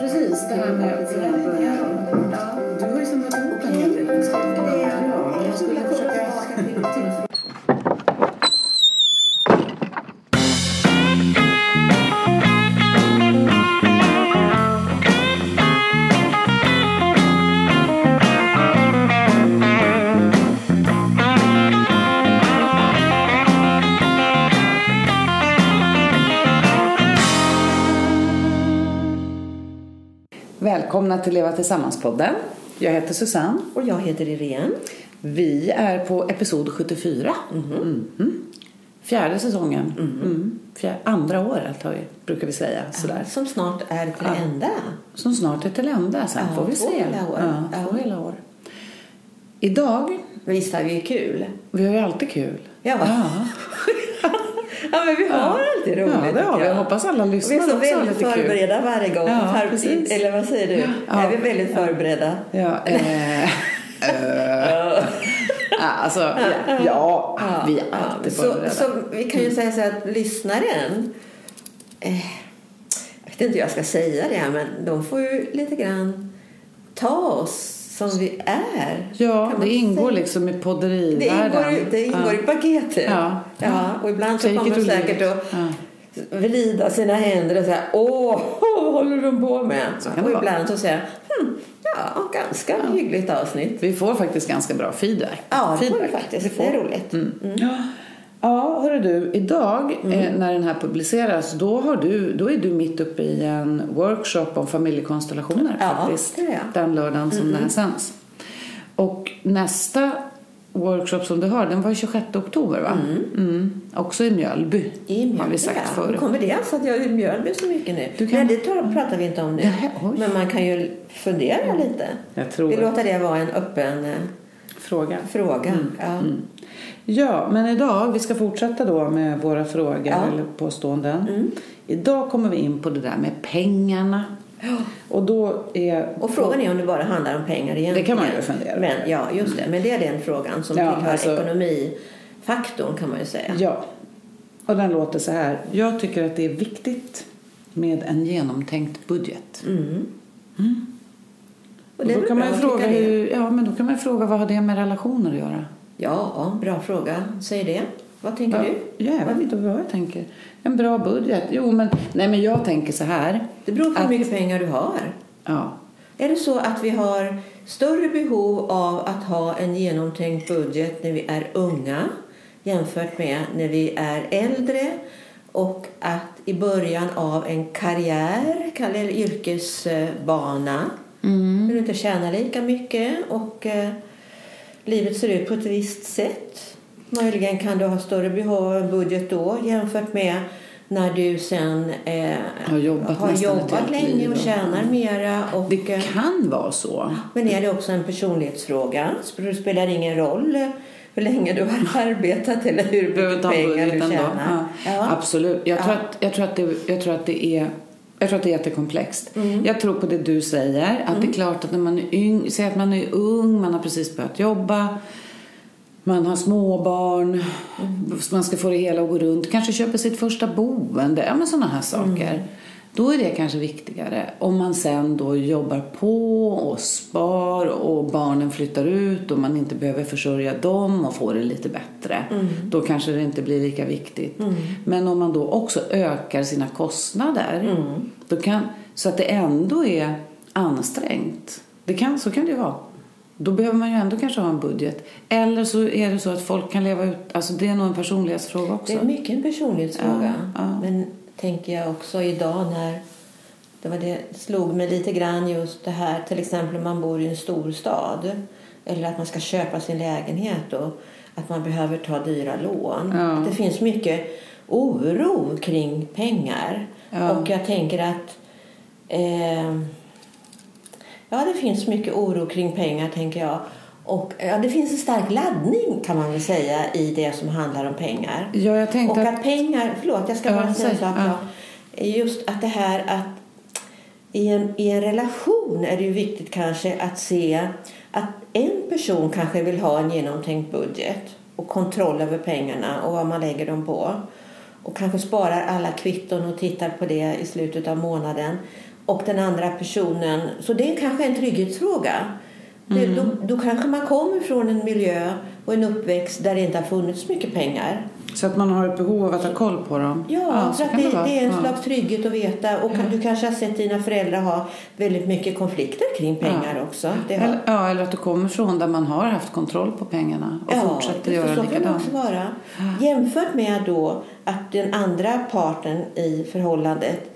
han när jag precis började. Du har ju samlat ihop en hel del. Ska vi bara börja? Jag skulle försöka... Välkomna till Leva Tillsammans-podden. Jag heter Susanne. Och jag heter Irene. Vi är på episod 74. Mhm. Fjärde säsongen. Mm. Fjär, andra året har vi, brukar vi säga. Sådär. Som snart är till ända. Som snart är till ända. Sen Ja, får vi två se. hela år. Ja, två Ja. hela år. Idag, Visst har vi kul? vi har ju alltid kul. Ja. ja, men vi har alltid roligt. Ja, det har tycker vi. Jag hoppas alla lyssnare Och Vi också är har så lite väldigt kul. förberedda varje gång. Ja, Har- precis. Eller vad säger du? Ja. Är vi väldigt förberedda? Ja, eh, eh, alltså, ja, ja, vi är alltid så, förberedda. Mm. så vi kan ju säga så här att lyssnaren... Eh, jag vet inte hur jag ska säga det, men de får ju lite grann ta oss som vi är. Ja, kan man det ingår säga. liksom i Det podderivärlden. ingår, i- det ingår i Ja. paketet. Ja. Ja, och ibland så Take kommer it de or leave säkert it. att vrida sina händer och säga Åh, vad håller de på med? kan Och det vara. ibland så säger jag hm, ja, ganska hyggligt avsnitt. Vi får faktiskt ganska bra feedback. Ja, det får vi Feedback. faktiskt. Det, är roligt. Mm. Ja. Ja, hörru du, idag Mm. eh, när den här publiceras då, har du, då är du mitt uppe i en workshop om familjekonstellationer Ja, faktiskt. det är jag. Den lördagen som det här sänds. Och nästa workshop som du har, den var ju 26 oktober va? Mm. Också i Mjölby, I Mjölby, har vi sagt Mm. ja. förut. Kommer det alltså att jag är i Mjölby så mycket nu? Du kan- Nej, det tar, pratar vi inte om nu. Nej, oj. Mm. Men man kan ju fundera lite. Jag tror Vi det. låter det vara en öppen eh, Fråga. fråga. Mm. Ja. Ja, men idag, vi ska fortsätta då med våra frågor Ja. Mm. eller påståenden. Idag kommer vi in på det där med pengarna. Och då är... Och frågan är om det bara handlar om pengar egentligen. Det kan man ju fundera Men, ja, just det. Men det är den frågan som Ja, tillhör alltså- ekonomifaktorn kan man ju säga. Ja. Och den låter så här. Jag tycker att det är viktigt med en genomtänkt budget. Mm. Och det är då väl kan man bra ju att fråga tycka det. hur, ja, men då kan man ju fråga vad har det med relationer att göra? Ja, bra fråga. Säg det. Vad tänker Ja, du? jag vet inte vad jag tänker. En bra budget. Jo, men, nej, men jag tänker så här. Det beror på hur mycket pengar du har. Ja, Är det så att vi har större behov av att ha en genomtänkt budget när vi är unga jämfört med när vi är äldre och att i början av en karriär eller yrkesbana mm. du inte tjänar lika mycket och eh, livet ser ut på ett visst sätt. Möjligen kan du ha större behov av en budget då jämfört med när du sen eh, Har jobbat har nästan ett jobbat helt länge liv och och- tjänar mera. Och, det eh, kan vara så. men är det också en personlighetsfråga? Det spelar ingen roll hur länge du har arbetat eller hur behöver mycket ta en pengar du budget ändå. Ja. tjänar. Ja. Absolut. Jag tror, att, jag, tror att det, jag tror att det är jag tror att det är jättekomplext. Mm. Jag tror på det du säger. Att det är klart att när man är yng, säg att man är ung, man har precis börjat jobba, man har småbarn, man ska få det hela att gå runt, kanske köper sitt första boende, ja men sådana här saker. Då är det kanske viktigare. Om man sen då jobbar på och spar och barnen flyttar ut och man inte behöver försörja dem och får det lite bättre. Då kanske det inte blir lika viktigt. Men om man då också ökar sina kostnader då kan, så att det ändå är ansträngt. Det kan, så kan det ju vara. Då behöver man ju ändå kanske ha en budget. Eller så är det så att folk kan leva ut... Alltså det är nog en personlighetsfråga också. Det är mycket en personlighetsfråga. Ja, ja. Men tänker jag också idag när det, var det slog mig lite grann just det här till exempel om man bor i en stor stad eller att man ska köpa sin lägenhet och att man behöver ta dyra lån. Att det finns mycket oro kring pengar. Och jag tänker att ehm, Ja, det finns mycket oro kring pengar, tänker jag. Och ja, Det finns en stark laddning kan man väl säga i det som handlar om pengar. Ja, jag Och tänkte att... att pengar, förlåt jag ska Ja, bara säga säg, så att ja. jag, just att det här att i en, i en relation är det ju viktigt kanske att se att en person kanske vill ha en genomtänkt budget och kontroll över pengarna och vad man lägger dem på och kanske sparar alla kvitton och tittar på det i slutet av månaden och den andra personen. Så det är kanske en trygghetsfråga. Mm. Det, då, då kanske man kommer från en miljö och en uppväxt där det inte har funnits mycket pengar. Så att man har ett behov av att ha koll på dem. Ja, så för att kan det, vara. det är en Ja. Mm. slags trygghet att veta. Och du kanske har sett dina föräldrar ha väldigt mycket konflikter kring pengar Ja. också. Det har, Eller, ja, eller att du kommer från där man har haft kontroll på pengarna och fortsätter just det, göra så kan det likadant. också vara. Jämfört med då att den andra parten i förhållandet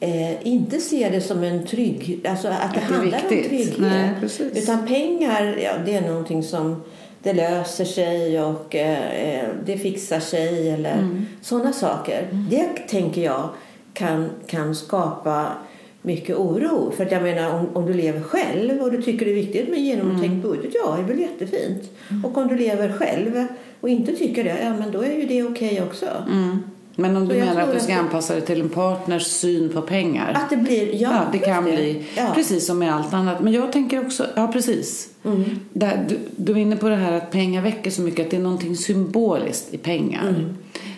eh, inte ser det som en trygg, alltså att det, Att det är handlar om viktigt. trygghet. Nej, precis. Utan pengar, ja, det är någonting som det löser sig och eh, eh, det fixar sig eller Mm. sådana saker. Det tänker jag kan, kan skapa mycket oro. För att jag menar om, om du lever själv och du tycker det är viktigt med genomtänkt Mm. budget, ja det är väl jättefint. Och om du lever själv och inte tycker det, ja men då är ju det okej också. Mm. Men om Så du jag menar att tror du ska att det- anpassa dig till en partners syn på pengar. Att det blir, ja, Ja, det just kan bli. Ja. Precis som med allt annat. Men jag tänker också, ja precis. Mm. Där, du, du är inne på det här att pengar väcker så mycket, att det är någonting symboliskt i pengar.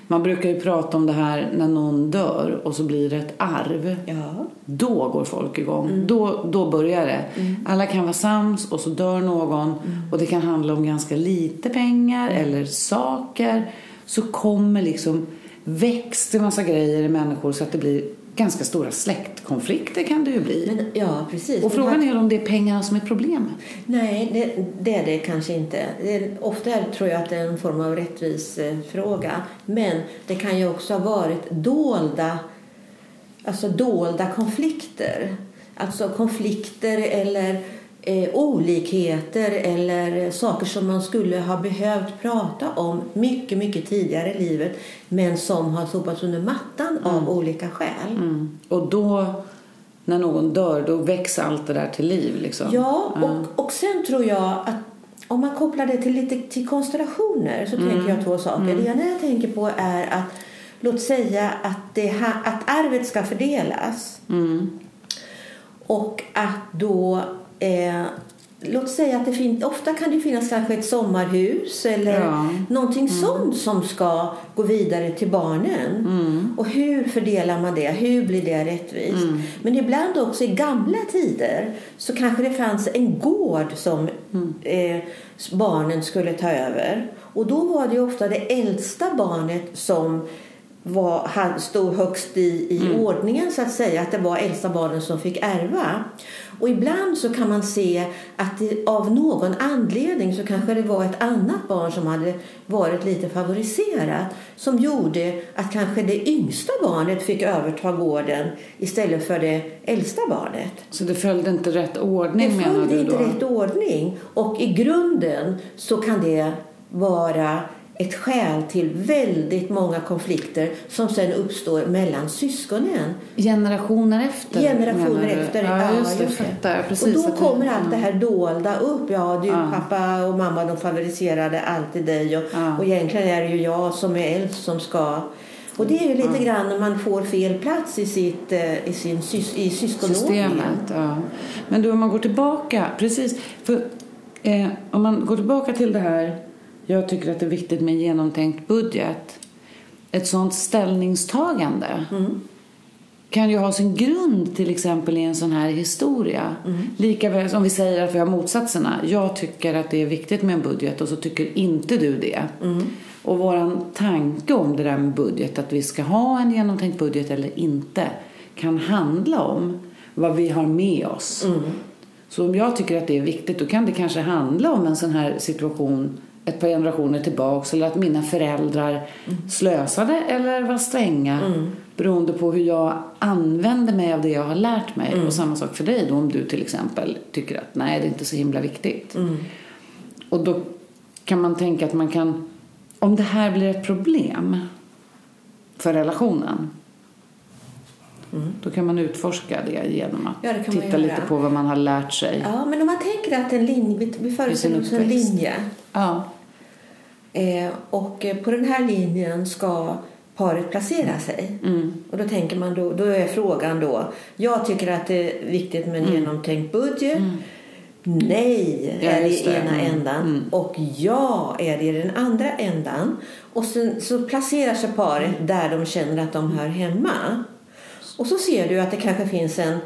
Man brukar ju prata om det här när någon dör och så blir det ett arv. Ja. Då går folk igång. Då, då börjar det. Alla kan vara sams och så dör någon och det kan handla om ganska lite pengar eller saker. Så kommer liksom växt en massa grejer i människor så att det blir ganska stora släktkonflikter kan det ju bli. Men, ja, precis. Och Men frågan är om det är pengarna som är problemet. Nej, det, det är det kanske inte. Det är, ofta är- tror jag att det är en form av rättvisefråga. Men det kan ju också ha varit dolda, alltså dolda konflikter. Alltså konflikter eller eh, olikheter eller saker som man skulle ha behövt prata om mycket, mycket tidigare i livet men som har sopats under mattan Mm. av olika skäl. Och då, när någon dör, då väcks allt det där till liv. Liksom. Ja, och, och sen tror jag att om man kopplar det till, lite, till konstellationer så tänker jag två saker. Det ena jag tänker på är att låt säga att, det, ha- att arvet ska fördelas och att då eh, Låt säga att det fin- ofta kan det finnas kanske ett sommarhus eller Ja. någonting sånt som ska gå vidare till barnen. Och hur fördelar man det? Hur blir det rättvist? Men ibland också i gamla tider så kanske det fanns en gård som eh, s- barnen skulle ta över. Och då var det ju ofta det äldsta barnet som var, han stod högst i, i ordningen så att säga, att det var äldsta barnen som fick ärva. Och ibland så kan man se att det, av någon anledning så kanske det var ett annat barn som hade varit lite favoriserat som gjorde att kanske det yngsta barnet fick överta gården istället för det äldsta barnet. Så det följde inte rätt ordning Det menar följde du då? inte rätt ordning. Och i grunden så kan det vara ett skäl till väldigt många konflikter som sen uppstår mellan syskonen. Generationer efter? menar Generationer du? efter. Ja, just det. Fattar jag. Precis. och att då det- Mm. kommer allt det här dolda upp. Ja, du Ja. pappa och mamma de favoriserade alltid dig och, Ja. och egentligen är det ju jag som är äldst som ska och det är ju lite grann när man får fel plats i, sitt, eh, i sin sys, i syskonordningen. systemet. Ja. Men du, om man går tillbaka, precis. För, eh, om man går tillbaka till det här, jag tycker att det är viktigt med en genomtänkt budget. Ett sånt ställningstagande kan ju ha sin grund till exempel i en sån här historia. Lika väl som vi säger att vi har motsatserna. Jag tycker att det är viktigt med en budget och så tycker inte du det. Och våran tanke om det där med budget, att vi ska ha en genomtänkt budget eller inte, kan handla om vad vi har med oss. Så om jag tycker att det är viktigt då kan det kanske handla om en sån här situation ett par generationer tillbaks eller att mina föräldrar slösade eller var stränga Mm. beroende på hur jag använder mig av det jag har lärt mig. Mm. Och samma sak för dig då om du till exempel tycker att nej det är inte så himla viktigt. Mm. Och då kan man tänka att man kan, om det här blir ett problem för relationen då kan man utforska det genom att Mm. Ja, det kan man titta göra. lite på vad man har lärt sig. Ja, men om man tänker att en linje, vi- vi föreställer oss en uppväxt. linje Ja. eh, och eh, på den här linjen ska paret placera sig. Mm. Och då tänker man då, då är frågan då, jag tycker att det är viktigt med en genomtänkt budget. Nej Mm. Ja, är det just i det. ena Mm. ändan och ja är det i den andra Mm. ändan. Och sen så placerar sig paret där de känner att de hör hemma. Och så ser du att det kanske finns en...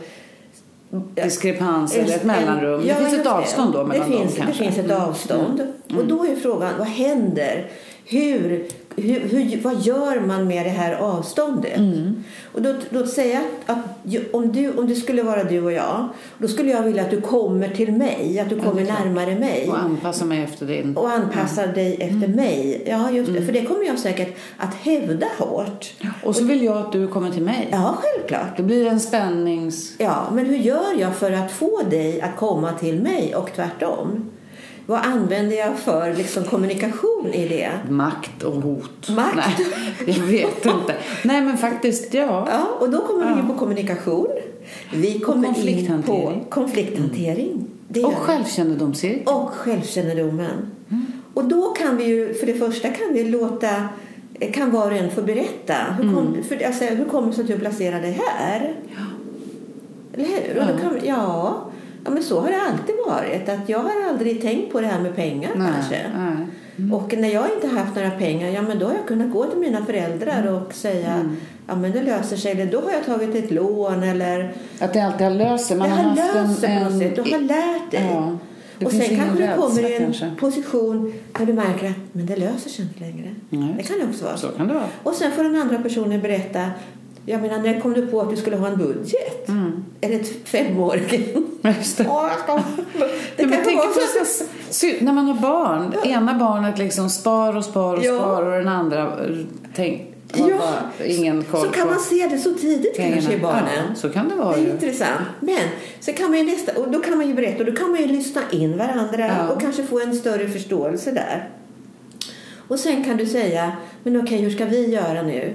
Diskrepans eller ett mellanrum. Ja, det finns just ett avstånd då mellan det finns, dem kanske. Det finns ett Mm. avstånd. Och då är frågan, vad händer? Hur, hur, hur, vad gör man med det här avståndet? Mm. Och då, då säga att, att ju- om, du, om det skulle vara du och jag, då skulle jag vilja att du kommer till mig, att du kommer närmare mig Och anpassa mig efter din... och anpassar Mm. dig efter mig. Ja, just det. För det kommer jag säkert att hävda hårt. Och så vill jag att du kommer till mig. Ja, självklart. Det blir en spännings... Ja, men hur gör jag för att få dig att komma till mig och tvärtom? Vad använder jag för liksom, kommunikation i det? Makt och hot. Makt? Nej, jag vet inte. Nej, men faktiskt, ja. Ja, och då kommer vi in på kommunikation. Vi kommer in på konflikthantering. konflikthantering. Det gör Och vi. självkännedomscirkel. och självkännedomen. Mm. Och då kan vi ju, för det första kan vi låta kan var och en få berätta. Hur kom, Mm. för, alltså, hur kommer det sig att du placerar dig här? Eller hur? Och då kan, ja. ja, men så har det alltid varit. Att jag har aldrig tänkt på det här med pengar Nej, Mm. kanske. nej. Och när jag inte haft några pengar, ja men då har jag kunnat gå till mina föräldrar Mm. och säga ja men det löser sig. Eller då har jag tagit ett lån eller Att det alltid har löst sig. Man det har har haft löst sig en... på något sätt. Du har en... lärt dig. Ja. Det och finns sen ingen kanske du rädsla, kommer i en kanske. position där du märker att men det löser sig inte längre. Nej. Det kan det också vara. Så kan det vara. Och sen får den andra personen berätta. Jag menar, när kom du på att du skulle ha en budget? Eller ett femåring? Mm. Ja, just det. Åh, jag ska- det Ja, men kanske tänk var på så. så- sy- när man har barn, ena barnet liksom spar och spar och Ja. spar och den andra eh, tänk, har bara ingen koll så kan på man se det så tidigt pengarna. kanske i barnen. Ja, så kan det vara Det är ju. intressant. Men så kan man ju nästa, och då kan man ju berätta och då kan man ju lyssna in varandra Ja. och kanske få en större förståelse där. Och sen kan du säga, men okej hur ska vi göra nu?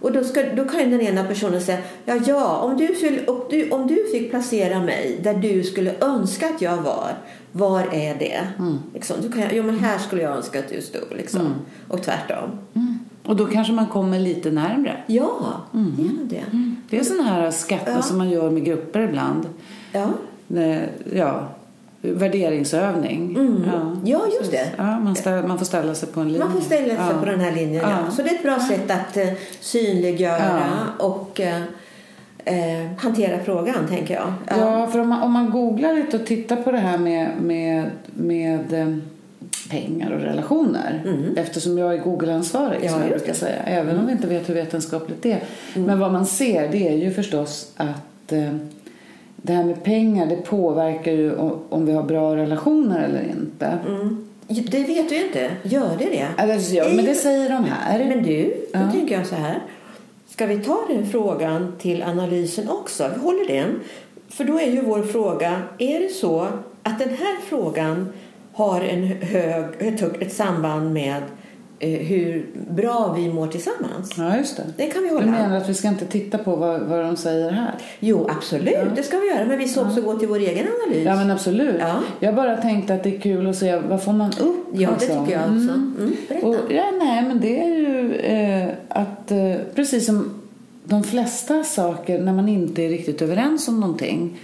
Och då, ska, då kan ju den ena personen säga, ja ja, om du, fyll, om, du, om du fick placera mig där du skulle önska att jag var, var är det? Mm. Liksom, då kan jag, jo men här skulle jag önska att du stod liksom. Och tvärtom. Mm. Och då kanske man kommer lite närmre. Ja, Mm. genom det. Det är sådana här skatter Ja. som man gör med grupper ibland. Ja. Eh, Ja, värderingsövning. mm. Ja, just precis. det. Ja, man, ställ, man får ställa sig på en linje. Man får ställa sig Ja. på den här linjen. Ja. Ja. Så det är ett bra sätt att eh, synliggöra och eh, eh, hantera frågan, tänker jag. Ja. Ja, för om man, om man googlar lite och tittar på det här med, med, med eh, pengar och relationer eftersom jag är Google-ansvarig Mm. Ja, som jag just Mm. brukar säga, även om vi inte vet hur vetenskapligt det är. Men vad man ser det är ju förstås att eh, det här med pengar det påverkar ju om, om vi har bra relationer eller inte. Mm. Det vet du inte. Gör det det? Eh, Alltså, ja, men det säger de här. Men du, då tänker jag så här. Ska vi ta den frågan till analysen också? Vi håller den. För då är ju vår fråga, är det så att den här frågan har en hög, ett, högt- ett samband med eh, hur bra vi mår tillsammans? Ja, just det. Det kan vi Du hålla. menar att vi ska inte titta på vad, vad de säger här? Jo, absolut. Det ska vi göra. Men vi ska också gå till vår egen analys. Ja, men absolut. Ja. Jag bara tänkte att det är kul att se vad får man upp? Ja, det tycker jag också. Mm, berätta. Och, ja, nej, men det är ju eh, att eh, precis som de flesta saker när man inte är riktigt överens om någonting.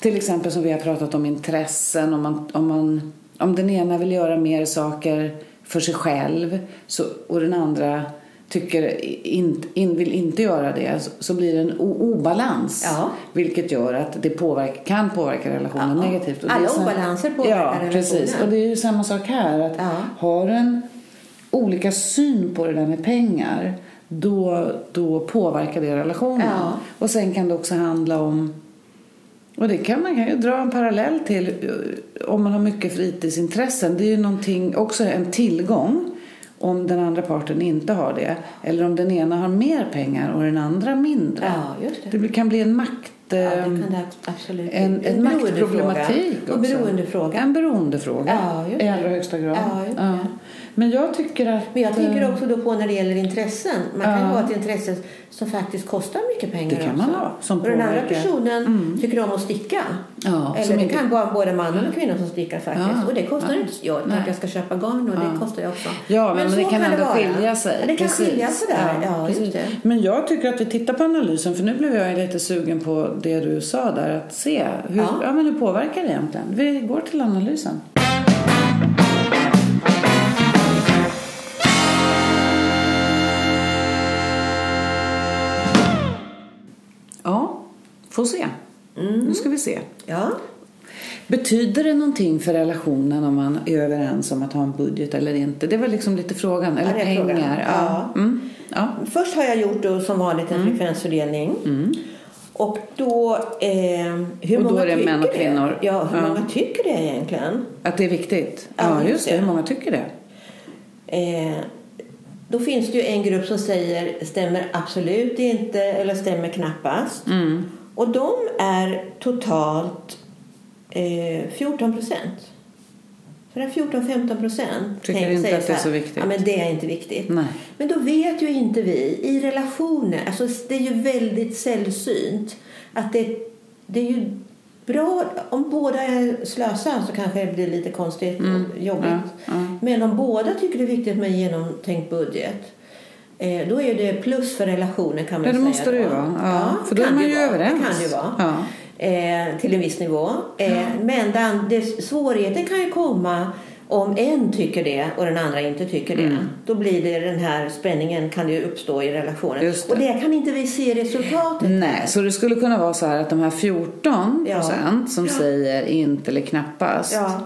Till exempel som vi har pratat om intressen. Om, man, om, man, om den ena vill göra mer saker för sig själv så, och den andra tycker in, in, vill inte göra det så, så blir det en o- obalans. Ja. Vilket gör att det påverkar, kan påverka relationen Ja. negativt. det är Alla så- obalanser påverkar ja, relationen. Precis. Och det är ju samma sak här. Att Ja. Har en olika syn på det där med pengar då, då påverkar det relationen. Ja. Och sen kan det också handla om och det kan man kan ju dra en parallell till eh, om man har mycket fritidsintressen. Det är ju någonting, också en tillgång om den andra parten inte har det. Eller om den ena har mer pengar och den andra mindre. Ja, just det. det blir- kan bli en makt... Ja, det eh, kan det absolut. en, en maktproblematik Ehm, också. En beroendefråga. En beroendefråga Ja, just det. i allra högsta grad. Ja, just det. Men jag tycker att... Men jag eh, tänker också då på när det gäller intressen. Man kan Ja. ju ha ett intresse som faktiskt kostar mycket pengar Det kan man också. ha, som och den andra påverkar. Mm. personen tycker om att sticka. Ja, Eller som det inte- kan vara både mannen och kvinnan som stickar faktiskt. Ja, och det kostar ja. inte. Jag Nej. tänker att jag ska köpa garn och det kostar ju också. Ja, men, men det så kan ändå vara. skilja sig. Ja, Det kan Precis. skilja sig där. Ja, precis. just det. Men jag tycker att vi tittar på analysen, för nu blev jag lite sugen på det du sa där, att se hur, ja. Ja. men hur påverkar det egentligen. Vi går till analysen. Får se. Mm. Nu ska vi se. Ja. Betyder det någonting för relationen om man är överens om att ha en budget eller inte? Det var liksom lite frågan. Eller Ja, det är pengar. frågan. Ja. Ja. Mm. ja. Först har jag gjort då, som vanligt Mm. en frekvensfördelning. Och då... Eh, hur Och då många är det tycker män och kvinnor. Ja, hur Ja. många tycker det egentligen? Att det är viktigt. Ja, Ja, just just det. det. Hur många tycker det? Eh, då finns det ju en grupp som säger stämmer absolut inte eller stämmer knappast. Mm. Och de är totalt eh, 14 procent. Så där 14-15 procent Tycker tänk- inte säger att det är här, så viktigt. Ja, men det är inte viktigt. Nej. Men då vet ju inte vi i relationer, alltså det är ju väldigt sällsynt att det, det är ju bra, om båda är slösa så kanske det blir lite konstigt Mm. och jobbigt. ja, ja. Men om båda tycker det är viktigt med en genomtänkt budget eh, då är det plus för relationen kan man Ja, det säga. måste det ju då. vara. Ja, för då är kan man det ju vara. överens. Det kan det ju vara. Ja. Eh, till en viss nivå. Eh, Men den, det, svårigheten kan ju komma om en tycker det och den andra inte tycker det. Mm. Då blir det den här spänningen kan ju uppstå i relationen. Just det. Mm. Och det kan inte vi se resultatet. Nej, så det skulle kunna vara så här att de här 14 Ja. procent som säger inte eller knappast. Ja.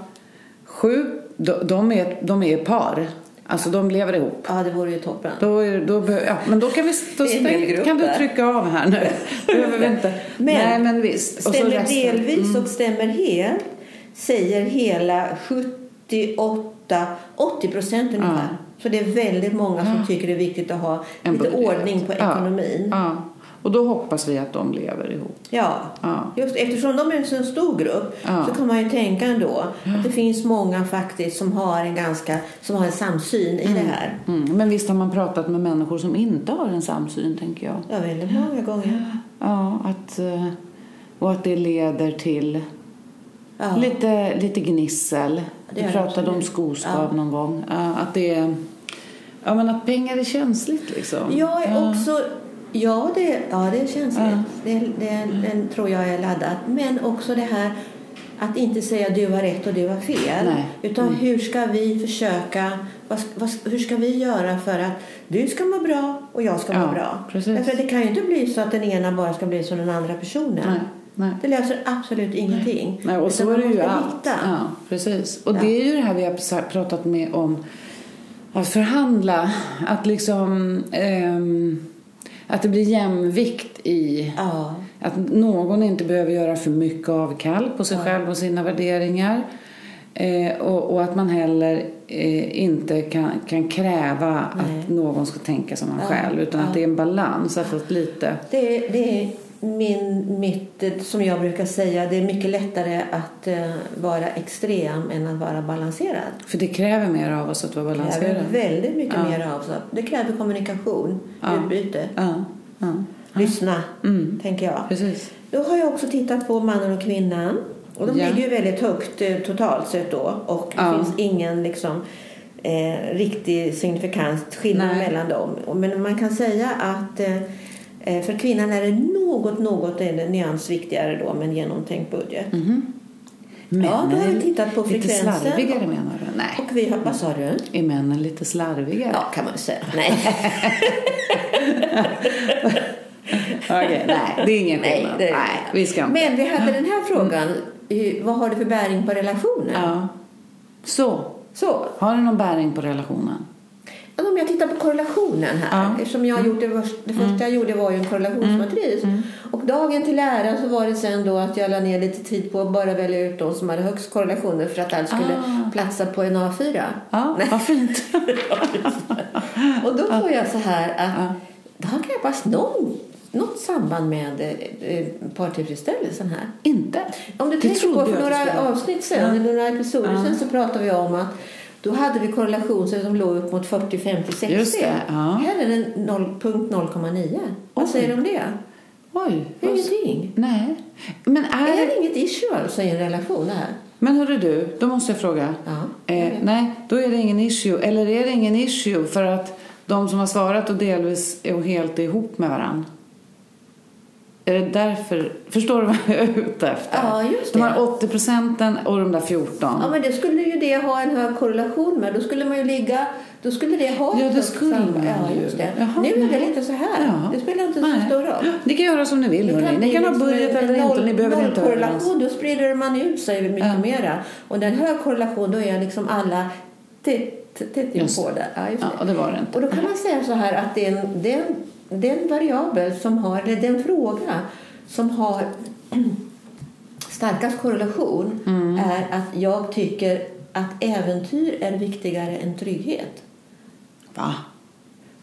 Sju, de, de, är, de är par. Alltså de lever ihop. ja, det vore ju toppen. Då är, då be, ja, men då kan vi då Det är en hel stäng, grupp kan du där. trycka av här nu. Behöver vi inte. Men- Nej, men visst. Och så Stämmer resten. Mm. delvis och stämmer helt säger hela 78, 80 procent ungefär. Så det är väldigt många som tycker det är viktigt att ha En lite budget. ordning på Ja, ekonomin. Ja. Ja. Och då hoppas vi att de lever ihop. Ja. Just, eftersom de är en så stor grupp Ja. så kan man ju tänka ändå att det finns många faktiskt som har en ganska som har en samsyn i det här. Mm. Men visst har man pratat med människor som inte har en samsyn, tänker jag. Ja, väldigt många gånger. Ja, att, eh, och att det leder till Ja. lite, lite gnissel. det Vi gör det pratade om absolut. skoskav någon gång. Ja, Att, det är, ja, men att pengar är känsligt liksom. Jag är också... Ja, det, ja, det känns det, det, Mm. Den tror jag är laddad. Men också det här att inte säga du har rätt och du har fel. Nej. Mm. Utan hur ska vi försöka... Vad, vad, hur ska vi göra för att du ska må bra och jag ska må Ja, bra? precis. Därför att det kan ju inte bli så att den ena bara ska bli som den andra personen. Nej, nej. Det löser absolut ingenting. Nej, och så Utan är det man ju måste allt. hitta. Ja, precis. Och det är ju det här vi har sa- pratat med om att förhandla. Att liksom... ehm, att det blir jämvikt i... Ja. Att någon inte behöver göra för mycket avkall på sig själv och sina värderingar. Eh, och, och att man heller eh, inte kan, kan kräva att någon ska tänka som man själv. Utan att det är en balans. Att att lite... Det, är- det är min, mitt, eh, som jag brukar säga, det är mycket lättare att eh, vara extrem än att vara balanserad. För det kräver mer av oss att vara Det balanserade. kräver väldigt mycket mer av sig. Det kräver kommunikation, utbyte, Ja, ja, Mm. lyssna, tänker jag. precis. Då har jag också tittat på mannen och kvinnan. Och de Ja. ligger ju väldigt högt eh, totalt sett då. Och det Ja. finns ingen liksom, eh, riktig signifikant skillnad Nej. mellan dem. Och- Men man kan säga att eh, eh, för kvinnan är det något, något är det nyans viktigare då med en genomtänkt budget. Männen Ja, då har vi är tittat på Mm-hmm. lite frekvensen. slarvigare menar du? Nej. Och vi har, vad sa du? Är männen lite slarvigare? Ja, kan man ju säga. Nej. Okej, nej, det är ingen Nej, skillnad. det Nej, är- vi ska inte. Mm. Men vi hade den här frågan. Hur- Vad har det för bäring på relationen? Ja. Så, Så, har det någon bäring på relationen? Ja, Om jag tittar på korrelationen här. Ja. Eftersom jag gjort det, vars- det första jag gjorde var ju en korrelationsmatris. Och dagen till ära så var det sen då att jag la ner lite tid på att bara välja ut de som hade högst korrelationer för att allt skulle platsa på en A4. Ja, Nej. vad fint. Och då får jag så här att det har knappast någon, något samband med eh, eh, partillfredsställelsen här. inte? Om du Det tänker trodde på jag att för du några skulle göra. avsnitt sen, eller några episoder sen så pratade vi om att då hade vi korrelationer som låg upp mot 40, 50, 60. Just det, ja. Här är den 0, punkt 0,9. Vad Oj. säger du om det? Oj. Det är vad- Ingenting. Nej. Men är Är det inget issue alltså i en relation det här? Men hörru du, då måste jag fråga. Ja, jag eh, vet. nej, då är det ingen issue. Eller är det ingen issue för att de som har svarat och delvis och helt är ihop med varann? Är det därför? Förstår du vad jag är ute efter? Ja, just De det. här 80 procenten och de där 14. Ja, men det skulle ju det ha en hög korrelation med. Då skulle man ju ligga Då skulle det ha Ja, ett det högt skulle samband. man Ja, ju. just det. Jaha, nu är det nej. lite så här. Ja. Det spelar inte så Nej. stor roll. Ni kan göra som ni vill. hörni. bli Ni kan ha liksom budget en- en eller inte. och Ni behöver inte vara överens. nollkorrelation, Då sprider man ut sig mycket Ja. mera. Och när det är hög korrelation då är liksom alla tätt tätt Just inpå där. Ja, just Ja, och det var det inte. och då kan man säga så här att det är en, det är en, det är en variabel som har, eller det är en fråga som har starkast korrelation Mm. är att jag tycker att äventyr är viktigare än trygghet. Va?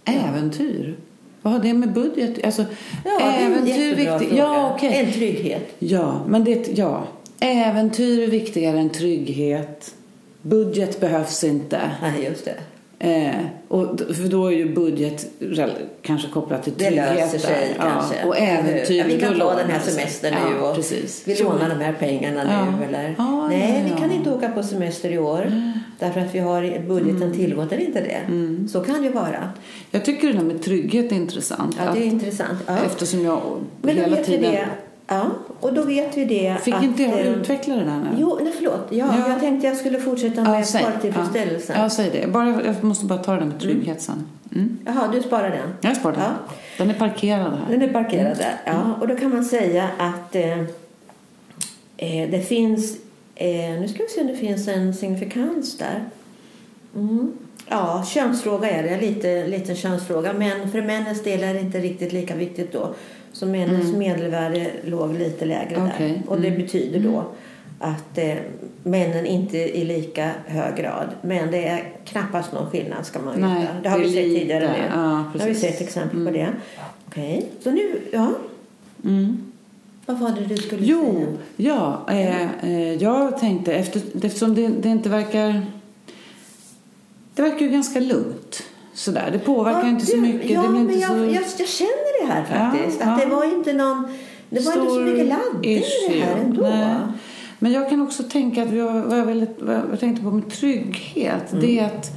Äventyr? Vad har det med budget? Alltså, det är en äventyr jättebra viktigt. fråga. Ja, okej. En trygghet. Ja, men det... Ja. Äventyr är viktigare än trygghet. Budget behövs inte. Nej, just det. Eh, och, d- för då är ju budget rel- kanske kopplat till Det trygghet. löser sig där. kanske. Ja, och äventyr. Ja, vi då kan ta lånar den här det sig. semestern ja, nu och precis. vi Så- lånar de här pengarna nu. Ja. Eller? Ja, Nej, ja, ja. vi kan inte åka på semester i år därför att vi har budgeten Mm. tillåter inte det. Så kan det ju vara. Jag tycker det där med trygghet är intressant. Ja, att, det är intressant. Ja. Eftersom jag Men då hela vet vi tiden... det. Ja, och då vet vi det Fick att, inte jag eh, utveckla det där nu? Jo, nej, förlåt. Ja, Ja. Jag tänkte jag skulle fortsätta Ja, med säg. spartillfredsställelsen. Ja, ja, säg det. Bara, jag måste bara ta det där med trygghet sen. Mm. Jaha, du sparar den? Jag har sparat den. Ja. Den är parkerad här. Den är parkerad där. Ja, och då kan man säga att eh, eh, det finns... Eh, nu ska vi se om det finns en signifikans där. Mm. Ja, könsfråga är det. Lite, liten könsfråga. Men för männens del är det inte riktigt lika viktigt då. Så männens medelvärde låg lite lägre Okej, där. Och det betyder då att eh, männen inte i lika hög grad. Men det är knappast någon skillnad ska man Nej, veta. Det har det är vi sett lite. tidigare nu. Ja, det har vi precis. sett exempel på det. Okej, så nu, ja. Mm. Vad var det du skulle Jo, säga? ja. Eh, eh, jag tänkte, efter, eftersom det, det inte verkar... Det verkar ju ganska lugnt. Sådär. Det påverkar Ja, inte så du, mycket. Ja, det blir men inte jag, så... jag, jag känner det här faktiskt. Ja, att det ja. var ju inte någon... Det var inte så Stor mycket laddning i det här issue. ändå. Nej. Men jag kan också tänka att jag, vad, jag ville, vad jag tänkte på med trygghet Mm. det är att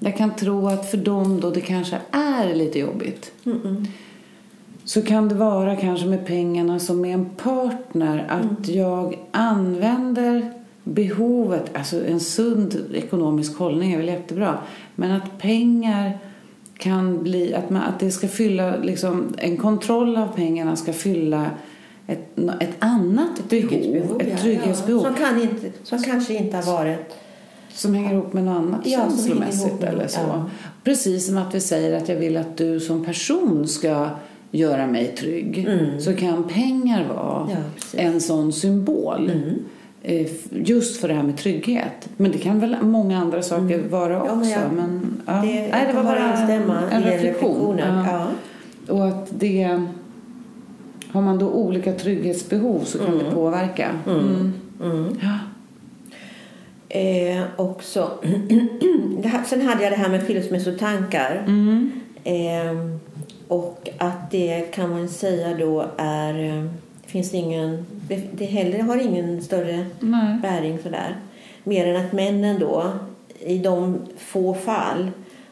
jag kan tro att för dem då det kanske är lite jobbigt så kan det vara kanske med pengarna som med en partner att jag använder behovet, alltså en sund ekonomisk hållning är väl jättebra, men att pengar kan bli, att, man, att det ska fylla, liksom, en kontroll av pengarna ska fylla ett, ett annat behov, ett trygghetsbehov Som, kan inte, som kanske inte har varit... som hänger ihop med något annat Ja, som hänger ihop känslomässigt med eller något, så. ja. Precis som att vi säger att jag vill att du som person ska göra mig trygg så kan pengar vara Mm. Ja, precis. Mm. en sån symbol. Eh, f- Just för det här med trygghet. Men det kan väl många andra saker vara också. Mm. Ja, men jag- men, ja. det- jag kan bara instämma i en den reflektion. reflektionen, Och att det... Har man då olika trygghetsbehov så kan det påverka. Mm. Ja. Eh, också. det här, sen hade jag det här med skilsmässotankar. Mm. Eh, och att det kan man säga då är... eh, Det finns ingen... Det, det heller har ingen större Nej. bäring sådär. Mer än att männen då i de få fall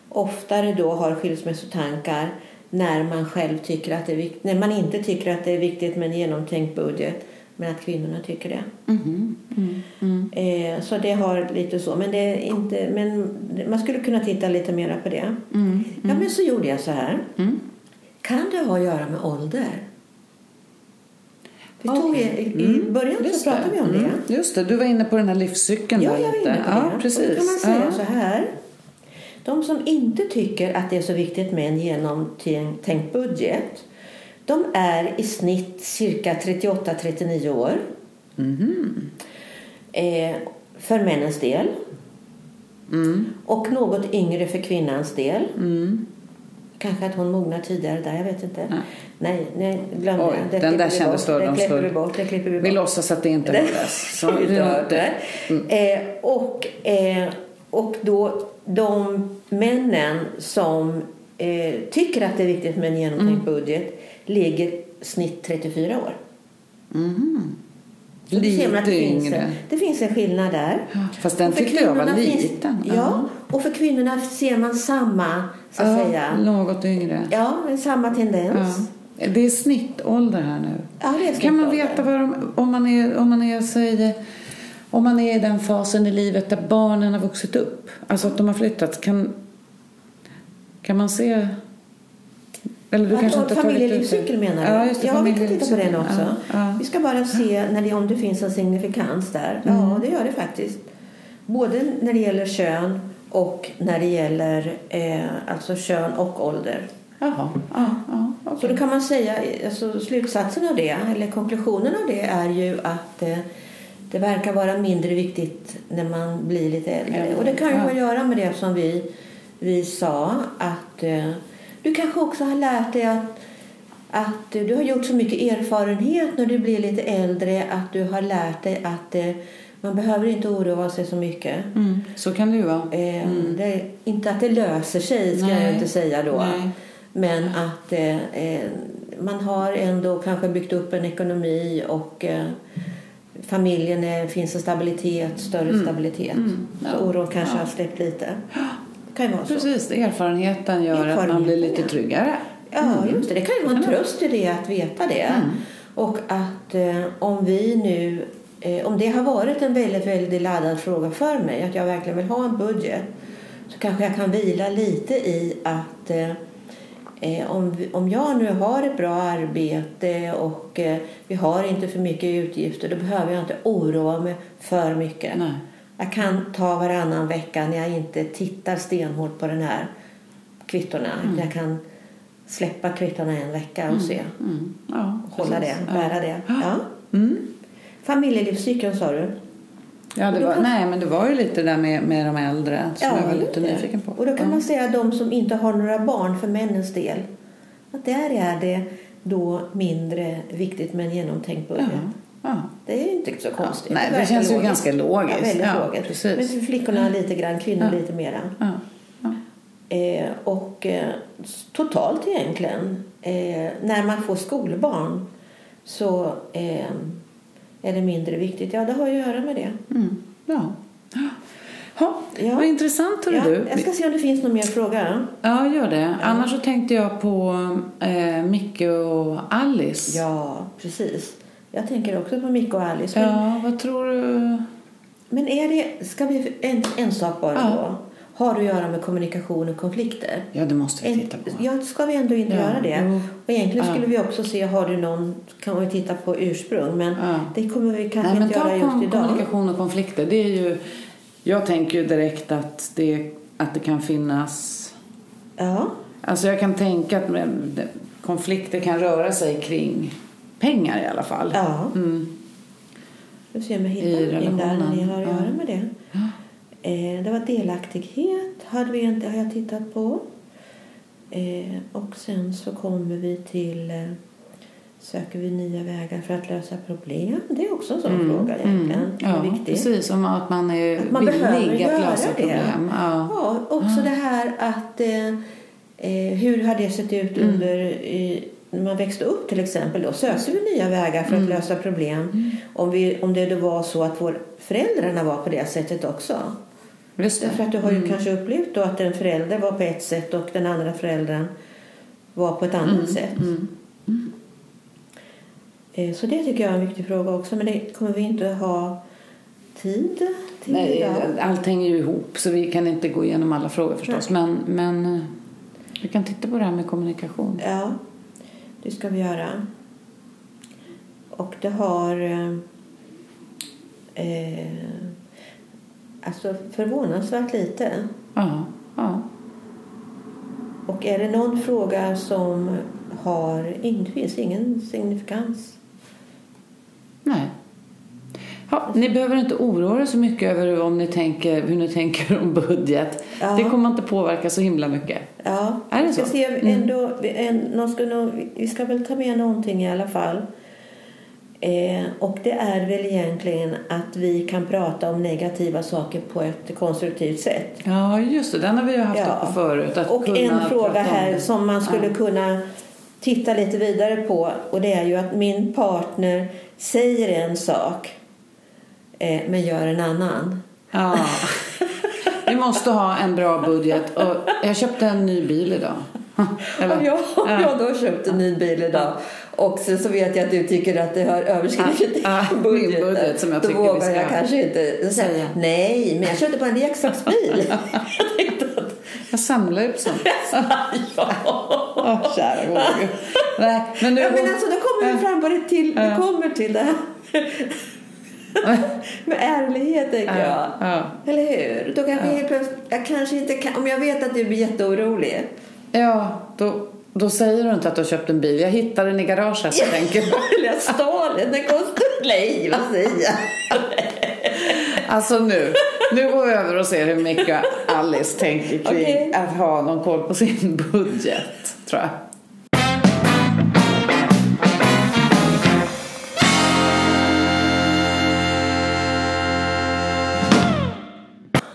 oftare då har skilsmässotankar när man själv tycker att det är viktigt, när man inte tycker att det är viktigt med en genomtänkt budget men att kvinnorna tycker det. Mhm. Mm. Mm. Eh, så det har lite så. Men, det är inte, men man skulle kunna titta lite mera på det. Mm. Ja, men så gjorde jag så här. Mm. Kan det ha att göra med ålder? Vi tog, Okej. i, I Mm. början Just så pratade det. vi om det. Mm. Just det, du var inne på den här livscykeln Ja, där jag var lite. inne på det. Ja, Och Då precis. kan man säga ja. så här. De som inte tycker att det är så viktigt med en genomtänkt budget de är i snitt cirka 38-39 år. Mhm. Eh, för männens del. Mm. Och något yngre för kvinnans del. Kanske att hon mognar tidigare där, jag vet inte. Nej. Nej, nej glöm Oj, det. det. den klipper där vi kändes bort. Det klipper vi fördomsfull. bort. Det klipper vi bort. Vi låtsas att det inte Det- hördes. Så Vi det är tar inte- det. Mm. Eh, och, eh, och då de männen som eh, tycker att det är viktigt med en Mm. genomtänkt budget ligger snitt 34 år. Så då ser man att Lite det finns yngre. En, det finns en skillnad där. Ja, fast den Och för tyckte jag var kvinnorna liten. Ja, Ja. och för kvinnorna ser man samma, så att Ja, säga. något yngre. Ja, samma tendens. Ja. Det är snittålder här nu. Ja, det är kan man snittålder. veta vad de, om man är, om man är, säg, om man är i den fasen i livet där barnen har vuxit upp, alltså att de har flyttat, kan, Kan man se... Eller du Att- kanske och inte har tagit ut det? familjelivscykel menar du? Ja, just det, ja vi kan titta på familjelivscykeln. den också. Ja, ja. Vi ska bara se när det, om det finns en signifikans där. Ja, det gör det faktiskt. Både när det gäller kön och när det gäller eh, alltså kön och ålder. Jaha, ja, ja, okej. Så då kan man säga, alltså slutsatsen av det, eller konklusionen av det är ju att eh, det verkar vara mindre viktigt när man blir lite äldre. Äldre, Och det kan ju ja. ha att göra med det som vi, vi sa, att eh, du kanske också har lärt dig att, att eh, du har gjort så mycket erfarenhet när du blir lite äldre att du har lärt dig att eh, man behöver inte oroa sig så mycket. Mm, så kan det ju vara. Eh, det, inte att det löser sig, ska jag Mm. Nej. ju inte säga då. Nej. Men att eh, eh, man har ändå kanske byggt upp en ekonomi och eh, familjen är, finns en stabilitet, större Mm. stabilitet. Så oron kanske har släppt lite. Det kan ju vara så. Precis, erfarenheten gör att man blir lite Erfarenheten, ja. tryggare. Ja, just det. Det Mm. kan ju vara Mm. en tröst i det att veta det. Och att eh, om vi nu, eh, om det har varit en väldigt, väldigt laddad fråga för mig, att jag verkligen vill ha en budget, så kanske jag kan vila lite i att eh, eh, om, vi- om jag nu har ett bra arbete och eh, vi har inte för mycket utgifter, då behöver jag inte oroa mig för mycket. Nej. Jag kan ta varannan vecka när jag inte tittar stenhårt på den här kvittorna. Jag kan släppa kvittorna en vecka och se. Mm, ja, Hålla precis. det, bära det. Ja. Mm. Familjelivscykeln sa du? Ja, det Då var, kan- nej, men det var ju lite det där med, med de äldre som jag var lite det. nyfiken på. Och då kan Ja. man säga de som inte har några barn för männens del. Att där är det då mindre viktigt med en genomtänkt budget. Ja, ja. Det är ju inte så konstigt. Nej, det verkar känns ju ganska logiskt. Ja, väldigt Ja, logiskt. precis. Mm. Men för flickorna lite grann, kvinnor lite mera. Ja, ja. Eh, och eh, s- totalt egentligen, eh, när man får skolbarn så eh, är det mindre viktigt. Ja, det har ju att göra med det. Mm, ja. Ha, Ja. Vad intressant, hörru Ja, du. jag ska se om det finns någon mer fråga. Ja, gör det. Annars så tänkte jag på eh, Micke och Alice. Ja, precis. Jag tänker också på Micke och Alice. Men, ja, vad tror du? men är det, ska vi, en, en sak bara Ja. då. Har det att göra med kommunikation och konflikter? Ja, det måste vi titta på. ja, ska vi ändå inte Ja, göra det? jo. Och egentligen skulle vi också se, har du någon, kan vi titta på ursprung, men Ja. det kommer vi kanske Nej, men inte göra ta just kom, idag. kommunikation och konflikter. Det är ju, jag tänker ju direkt att det, att det kan finnas... Ja, Alltså jag kan tänka att men, det- konflikter kan röra sig kring pengar i alla fall. ja. Mm. Nu ser jag om jag hittar I någonting där när ni relationen, har att ja. göra med det. Eh, det var delaktighet, hade vi inte, har jag tittat på. Eh, och sen så kommer vi till eh, söker vi nya vägar för att lösa problem. Det är också en sån fråga egentligen. som är Mm. Ja, viktig. precis. Om att man är Att man behöver villig göra att lösa det. problem. Ja. Ja, också det här att eh, eh, hur har det sett ut under eh, när man växte upp till exempel då sökte vi nya vägar för att lösa problem om, vi, om det då var så att vår föräldrarna var på det sättet också. Just det. Därför att du har ju kanske upplevt då att en förälder var på ett sätt och den andra föräldern var på ett annat sätt. Eh, Så det tycker jag är en viktig fråga också men det kommer vi inte ha tid till Nej, eh, idag. allt hänger ju ihop så vi kan inte gå igenom alla frågor förstås. Men, men eh, vi kan titta på det här med kommunikation. Ja, det ska vi göra. Och det har... eh, Eh, alltså förvånansvärt lite. Ja, ja. Och är det någon fråga som har... Det finns ingen signifikans. Nej. Ja, ni behöver inte oroa er så mycket över om ni tänker, hur ni tänker om budget. Ja. Det kommer inte påverka så himla mycket. Ja, Är det vi ska så? Mm. se om ändå, vi- en, någon ska nog, vi ska väl ta med någonting i alla fall. Eh, och det är väl egentligen att vi kan prata om negativa saker på ett konstruktivt sätt. Ja, just det. Den har vi ju haft uppe förut. Att och kunna en prata fråga om här det. som man skulle Ja. kunna titta lite vidare på och det är ju att min partner säger en sak eh, men gör en annan. Ja. Vi måste ha en bra budget. Och jag köpte en ny bil idag. Eller? Om jag, om Ja. jag då köpt en ny bil idag och sen så vet jag att du tycker att det har överskridit Ja, ja, min budgeten. budget som jag då tycker vi vågar ska jag kanske inte säga säga. nej, men jag köpte bara en leksaksbil. Jag tänkte att Jag samlar upp sånt. ja. Åh, kära gode Gud. Nej, men nu... ja, men alltså då kommer vi fram på det till, vi Ja. kommer till det här med ärlighet tänker Ja, jag. ja. Eller hur? Då kanske helt plötsligt, jag kanske inte kan, om jag vet att du blir jätteorolig. Ja, då, då säger du inte att du har köpt en bil. Jag hittade den i garaget, så tänker jag. Eller jag stal den, den kostade, nej vad säger jag? Alltså nu, nu går vi över och ser hur mycket Alice tänker kring Okej. att ha någon koll på sin budget, tror jag.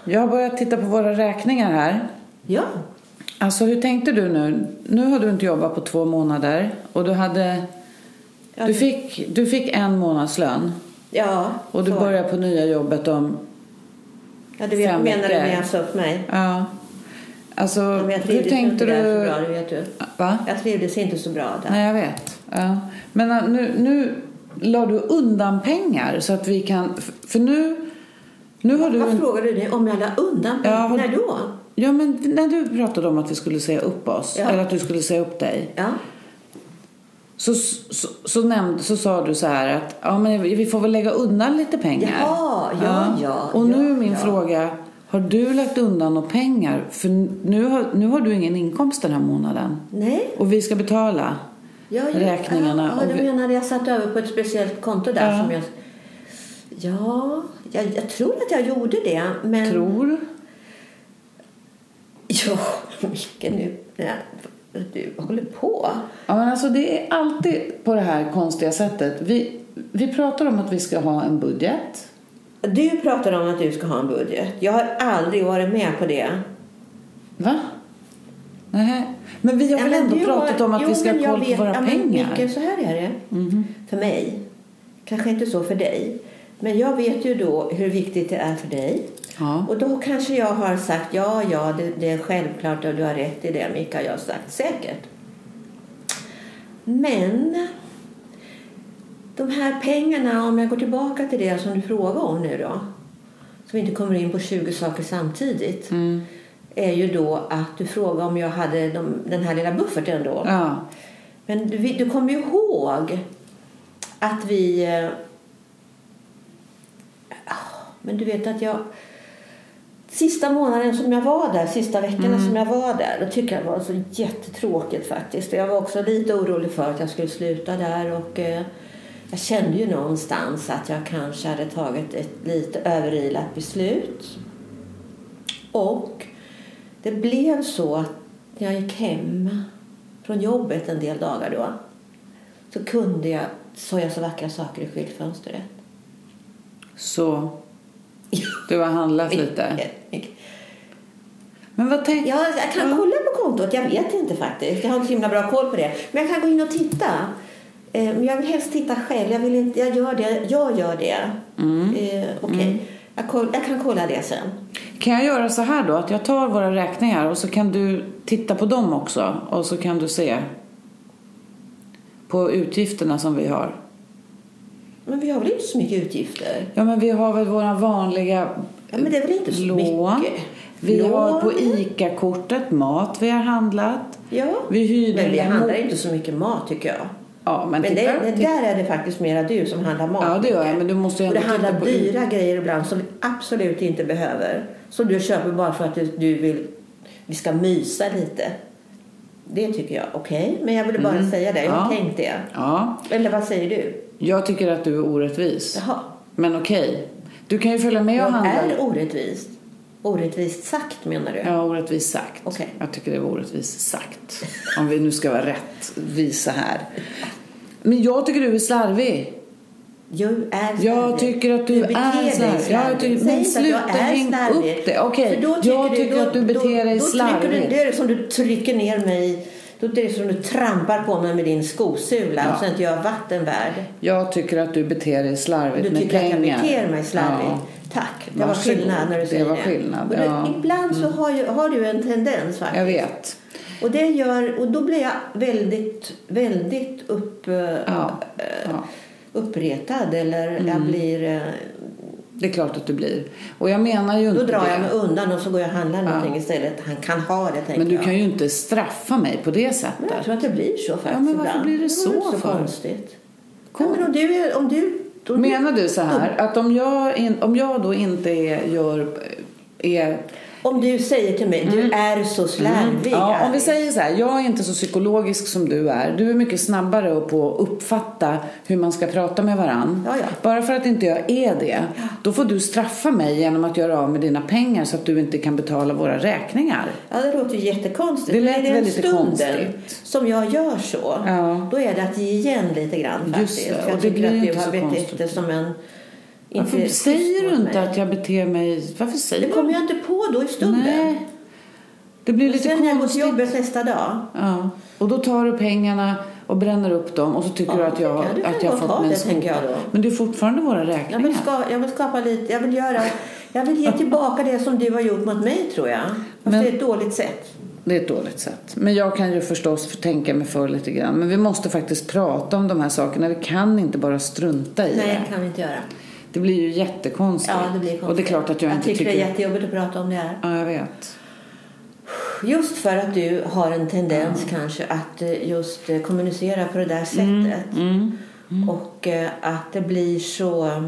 Jag har börjat titta på våra räkningar här. Ja, Alltså hur tänkte du nu? Nu har du inte jobbat på två månader och du hade... Ja, Du det- fick, du fick en månadslön ja. och du så. börjar på nya jobbet om Ja, du vet, fem menar du veckor. när jag sa upp mig? Ja. Alltså, Ja, men jag hur trivdes ju tänkte inte du? där så bra, det vet du. Va? Jag trivdes inte så bra där. Nej, jag vet. Ja. Men äh, nu, nu la du undan pengar så att vi kan... f- För nu... Nu har du... Vad frågade du om jag la undan Ja, pengar? vad- När då? Ja, men när du pratade om att vi skulle säga upp oss, Ja. eller att du skulle säga upp dig, Ja. så, så, så, nämnde, så sa du så här att ja, men vi får väl lägga undan lite pengar. Jaha, ja, ja, Och nu ja, är min ja. fråga, har du lagt undan några pengar? För nu har, nu har du ingen inkomst den här månaden. Nej. Och vi ska betala Ja, ja. räkningarna. Ja, och vi, du menar jag satt över på ett speciellt konto där Ja. som jag... Ja, jag, jag tror att jag gjorde det. Men... tror. Ja, Micke nu. Nej, du håller på. Ja, men alltså, det är alltid på det här konstiga sättet. Vi, vi pratar om att vi ska ha en budget. Du pratar om att du ska ha en budget. Jag har aldrig varit med på det. Va? Nej. Men vi har Ja, väl men ändå du pratat har- om att jo, vi ska men ha jag koll på vet- våra ja, men pengar. Mhm. Micke, så här är det. För mig. Kanske inte så för dig. Men jag vet ju då hur viktigt det är för dig. Ja. Och då kanske jag har sagt ja, ja, det, det är självklart och du har rätt i det Micke, jag har sagt säkert. Men de här pengarna, om jag går tillbaka till det som du frågade om nu då. Som inte kommer in på 20 saker samtidigt. Är ju då att du frågade om jag hade de, den här lilla bufferten då. Ja. Men du, vi- du kommer ju ihåg att vi... eh, ah, Men du vet att jag... Sista månaden som jag var där, sista veckorna som jag var där, då tycker jag det var så jättetråkigt faktiskt. Jag var också lite orolig för att jag skulle sluta där och eh, jag kände ju någonstans att jag kanske hade tagit ett lite överilat beslut. Och det blev så att när jag gick hem från jobbet en del dagar då så kunde jag, såg jag så vackra saker i skyltfönstret. Så du har handlat lite. Men vad tänkte Ja, jag kan kolla på kontot. Jag vet inte faktiskt. Jag har inte så himla bra koll på det. Men jag kan gå in och titta. Eh, Men jag vill helst titta själv. Jag, vill inte, jag gör det. Jag gör det. Mm. Okej. Jag, koll- jag kan kolla det sen. Kan jag göra så här då? Att jag tar våra räkningar och så kan du titta på dem också. Och så kan du se på utgifterna som vi har. Men vi har väl inte så mycket utgifter? Ja, men vi har väl våra vanliga Ja, men det är väl inte så lån. mycket? Vi Lån. har på ICA-kortet mat vi har handlat. Ja. Vi hyrde Men vi en handlar mo- inte så mycket mat tycker jag. Ja, men, Men det, titta, det titta. där är det faktiskt mera du som handlar mat. Ja, det gör jag, men du måste ju Och det ändå titta handlar på- dyra grejer ibland som vi absolut inte behöver. Som du köper bara för att du, du vill vi ska mysa lite. Det tycker jag. Okej, men jag ville bara säga det. Jag har Mm. Ja. tänkt det. Ja, Eller vad säger du? jag tycker att du är orättvis. Jaha. Men okej, du kan ju följa med och Jag handla. är orättvist. Orättvist sagt menar du? Ja, orättvist sagt. Okej. Jag tycker det var orättvist sagt. Om vi nu ska vara rättvisa här. Men jag tycker du är slarvig. Jag är slarvig. Jag tycker att du, beter är dig slarvig. Ja, jag tycker- Säg men inte att sluta jag är häng slarvig. upp det. Okej, För då jag tycker att du beter dig då, Då trycker du, slarvigt. det är som du trycker ner mig. Då är det som du trampar på mig med din skosula och sen att jag är vattenvärd. Jag tycker att du beter dig slarvigt Du med tycker att pengar. jag beter mig slarvigt. Ja. Tack, det var Varsågod. skillnad när du Det säger var skillnad, Och du, ja. Mm. Ibland så har, ju, har du en tendens faktiskt. Jag vet. Och, det gör, och då blir jag väldigt, väldigt upp, eh, Ja, eh, ja. Mm. uppretad. Eller jag blir... eh, Det är klart att du blir. Och jag menar ju Då inte drar det. jag mig undan och så går jag och handlar någonting istället. Han kan ha det, tänker Men du jag. kan ju inte straffa mig på det sättet. Men jag tror att det blir så faktiskt Ja, men varför ibland. blir det så var inte så för? konstigt. Nej, men om du... Är, om du om Menar du så här att om jag, in, om jag då inte är, gör, är Om du säger till mig, du är så slarvig. Mm. Ja, om vi Alice. säger så här, jag är inte så psykologisk som du är. Du är mycket snabbare på att uppfatta hur man ska prata med varann. Ja, ja. Bara för att inte jag är det, då får du straffa mig genom att göra av med dina pengar så att du inte kan betala våra räkningar. Ja, det låter ju jättekonstigt. Det lät Men i den väldigt stunden konstigt. som jag gör så, Ja. då är det att ge igen lite grann Just faktiskt. det, För och jag det tycker blir ju att du inte har så betett konstigt. dig som en... inte Varför schysst säger du mot inte mig. att jag beter mig... Varför säger Det du kommer jag inte på då i stunden. Nej. Det blir lite Sen när jag går till konstigt. jobbet nästa dag. Ja. Och då tar du pengarna och bränner upp dem och så tycker Ja, du att jag, det kan- det kan att jag har jag ta fått mig en det, tänker jag skopa. då. Men det är fortfarande våra Jag räkningar. vill, ska, jag vill skapa lite, jag vill göra, jag vill ge tillbaka det som du har gjort mot mig tror jag. Fast Men- det är ett dåligt sätt. Det är ett dåligt sätt. Men jag kan ju förstås tänka mig för lite grann. Men vi måste faktiskt prata om de här sakerna. Vi kan inte bara strunta i Nej, det det. kan vi inte göra. Det blir ju jättekonstigt. Ja, det blir konstigt. Och det är klart att jag, inte tycker tycker... det är jättejobbigt att prata om det här. Ja, jag vet. Just för att du har en tendens kanske att eh, just eh, kommunicera på det Mm, där sättet. Och eh, att det blir så eh,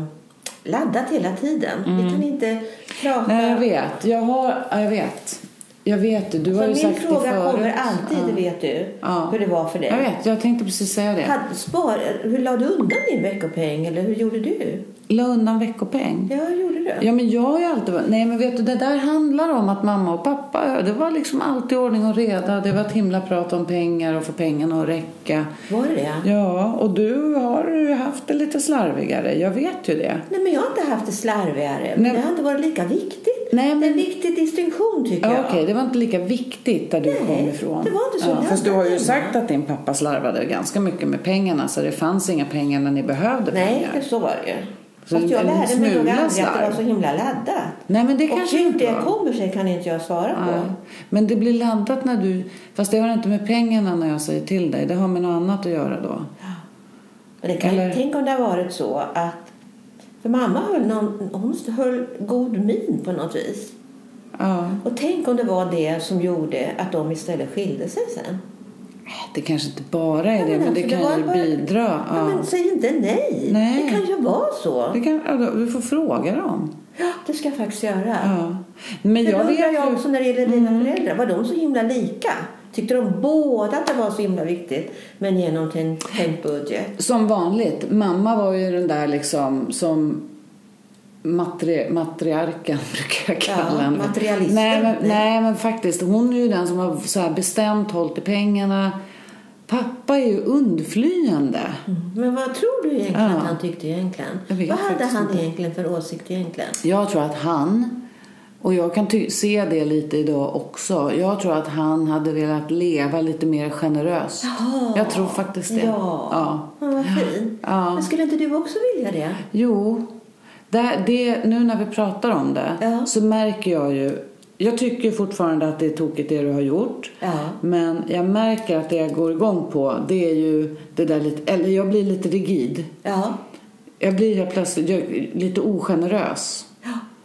laddat hela tiden. Vi kan inte prata. Mm. Nej, jag vet. Jag har... Ja, jag vet. Jag vet det. Du har så ju min sagt det fråga förut. kommer alltid, Ja. vet du, Ja. hur det var för dig. Jag vet. Jag tänkte precis säga det. Hade- Spar, hur la du undan din veckopeng eller hur gjorde du? La undan veckopeng. Ja, hur gjorde du? Ja, men jag har ju alltid varit... Nej, men vet du, det där handlar om att mamma och pappa, det var liksom alltid ordning och reda. Det var ett himla prat om pengar och få pengarna att räcka. Var det det? Ja, och du har ju haft det lite slarvigare. Jag vet ju det. Nej, men jag har inte haft det slarvigare. Men Nej. det har inte varit lika viktigt. Nej, men- Det är en viktig distinktion tycker Ja, jag. Okej, det var inte lika viktigt där du Nej, kom ifrån. det var inte så ja, lätt Fast du har ju hemma. sagt att din pappa slarvade ganska mycket med pengarna så det fanns inga pengar när ni behövde Nej, pengar. det så var det ju. Så Fast jag en lärde mig nog smula aldrig att det var slarv. så himla laddat. Nej, men det Och kanske hur inte det var. kommer sig kan inte jag svara Nej. på. Men det blir laddat när du... Fast det har inte med pengarna när jag säger till dig. Det har med något annat att göra då. Men det kan, Eller- Tänk om det har varit så att... För mamma höll, någon, hon höll god min på något vis. Ja. Och tänk om det var det som gjorde att de istället skilde sig sen. Det kanske inte bara är det, men det alltså, kan var ju bara- bidra. Ja. Ja. men säg inte nej. Nej. Det kan ju vara så. Det kan, ja, då- du får fråga dem. Ja, det ska jag faktiskt göra. Ja. Men För jag då vet undrar jag ju... Mm. också när det gäller dina föräldrar. Var de så himla lika? Tyckte de båda att det var så himla viktigt men genom en tänkt budget? Som vanligt, mamma var ju den där liksom som matri, matriarken brukar jag kalla Ja, henne. materialisten. Nej men, Nej. nej men faktiskt, hon är ju den som har så här bestämt hållit i pengarna. Pappa är ju undflyende. Mm. Men vad tror du egentligen Ja. att han tyckte egentligen? Jag vet Vad hade faktiskt han egentligen för åsikt egentligen? Jag tror att han, och jag kan ty- se det lite idag också, jag tror att han hade velat leva lite mer generöst. Jaha. Jag tror faktiskt det. Ja, Ja. Men vad fint. Ja. Men skulle inte du också vilja det? Jo, det, det, nu när vi pratar om det Ja. så märker jag ju... Jag tycker fortfarande att det är tokigt det du har gjort. Ja. Men jag märker att det jag går igång på det är ju det där lite... Eller jag blir lite rigid. Ja. Jag blir helt plötsligt jag, lite ogenerös.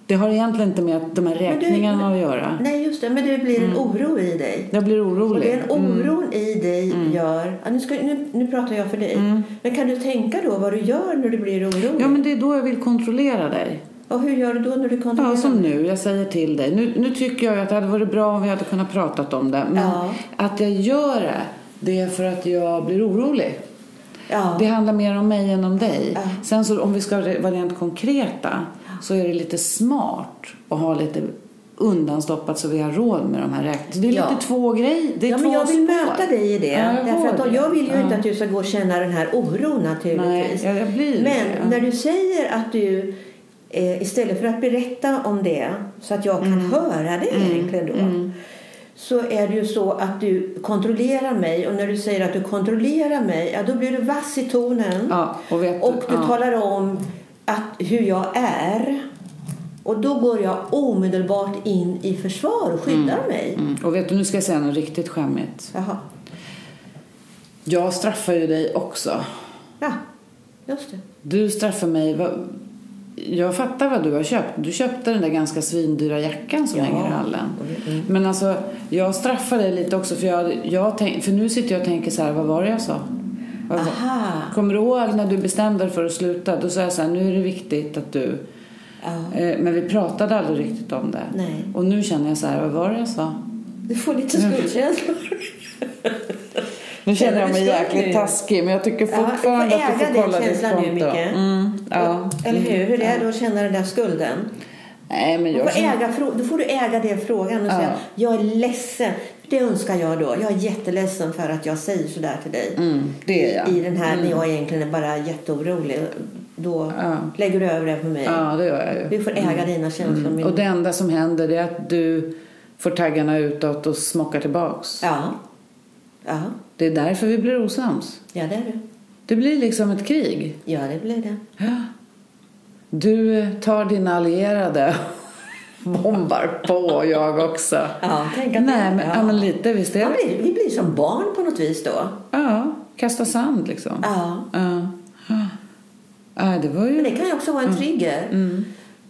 Det har egentligen inte med att de här Men du- räkningarna att göra. Nej, just det. Men det blir Mm. en oro i dig. Jag blir orolig. Och den Mm. oron i dig gör... Ja, nu, ska, nu, nu pratar jag för dig. Men kan du tänka då vad du gör när du blir orolig? Mm. Ja, men det är då jag vill kontrollera dig. Och hur gör du då när du kontrollerar? Ja, som nu. Jag säger till dig. Nu, nu tycker jag ju att det hade varit bra om vi hade kunnat prata om det. Men Ja. att jag gör det, det är för att jag blir orolig. ja. Det handlar mer om mig än om dig. Ja. Sen så om vi ska re- vara rent konkreta så är det lite smart att ha lite undanstoppat så vi har råd med de här räkningarna. Det är Ja. lite två grejer. Det är Ja, två men jag vill spår. möta dig i det. Ja, jag därför får att det. jag vill ju Ja. inte att du ska gå och känna den här oron naturligtvis. Nej, jag- jag blir men det, ja. när du säger att du eh, istället för att berätta om det så att jag kan Mm. höra det egentligen då. Så är det ju så att du kontrollerar mig och när du säger att du kontrollerar mig, ja då blir du vass i tonen. Ja, och vet- du ja. talar om att hur jag är. Och då går jag omedelbart in i försvar och skyddar mig. Mm. Och vet du, nu ska jag säga något riktigt skämmigt. Jaha. Jag straffar ju dig också. Ja, just det. Du straffar mig. Vad, jag fattar vad du har köpt. Du köpte den där ganska svindyra jackan som Ja. hänger i hallen. Men alltså, jag straffar dig lite också för, jag, jag tänk, för nu sitter jag och tänker så här, vad var det jag sa? Vad var- Aha. Kommer du ihåg när du bestämde dig för att sluta? Då sa jag så här, nu är det viktigt att du... Ja. Eh, Men vi pratade aldrig riktigt om det. Nej. Och nu känner jag så här, vad var det jag sa? Du får lite skuldkänslor. Nu känner jag du mig skuld jäkligt nu? taskig men jag tycker Ja, du får fortfarande att du äga får den kolla ditt känslan nu, konto. Micke. mm, ja. Eller hur? Hur är det att känna den där skulden? Nej, men Du jag får känner... äga, frå- då får du äga den frågan och Ja. säga jag är ledsen. Det önskar jag då. Jag är jätteledsen för att jag säger sådär till dig. Mm, det är jag. I den här när jag egentligen är bara jätteorolig. Då Mm. Ja. lägger du över det på mig. Ja, det gör jag ju. Du får äga dina känslor. min- Och det enda som händer är att du får taggarna utåt och smockar tillbaks. Ja. ja, Det är därför vi blir osams. ja det är du. Det blir liksom ett krig. Ja, det blir det. Ja. Du eh, tar dina allierade och bombar på jag också. Ja, tänk att Nej, det- men, ja. ja. men lite visst är Man det. blir, vi blir som barn på något vis då. Ja, kasta sand liksom. Ja. Ja. Ja. Nej, det var Men ju... det kan ju också vara Mm. en trigger.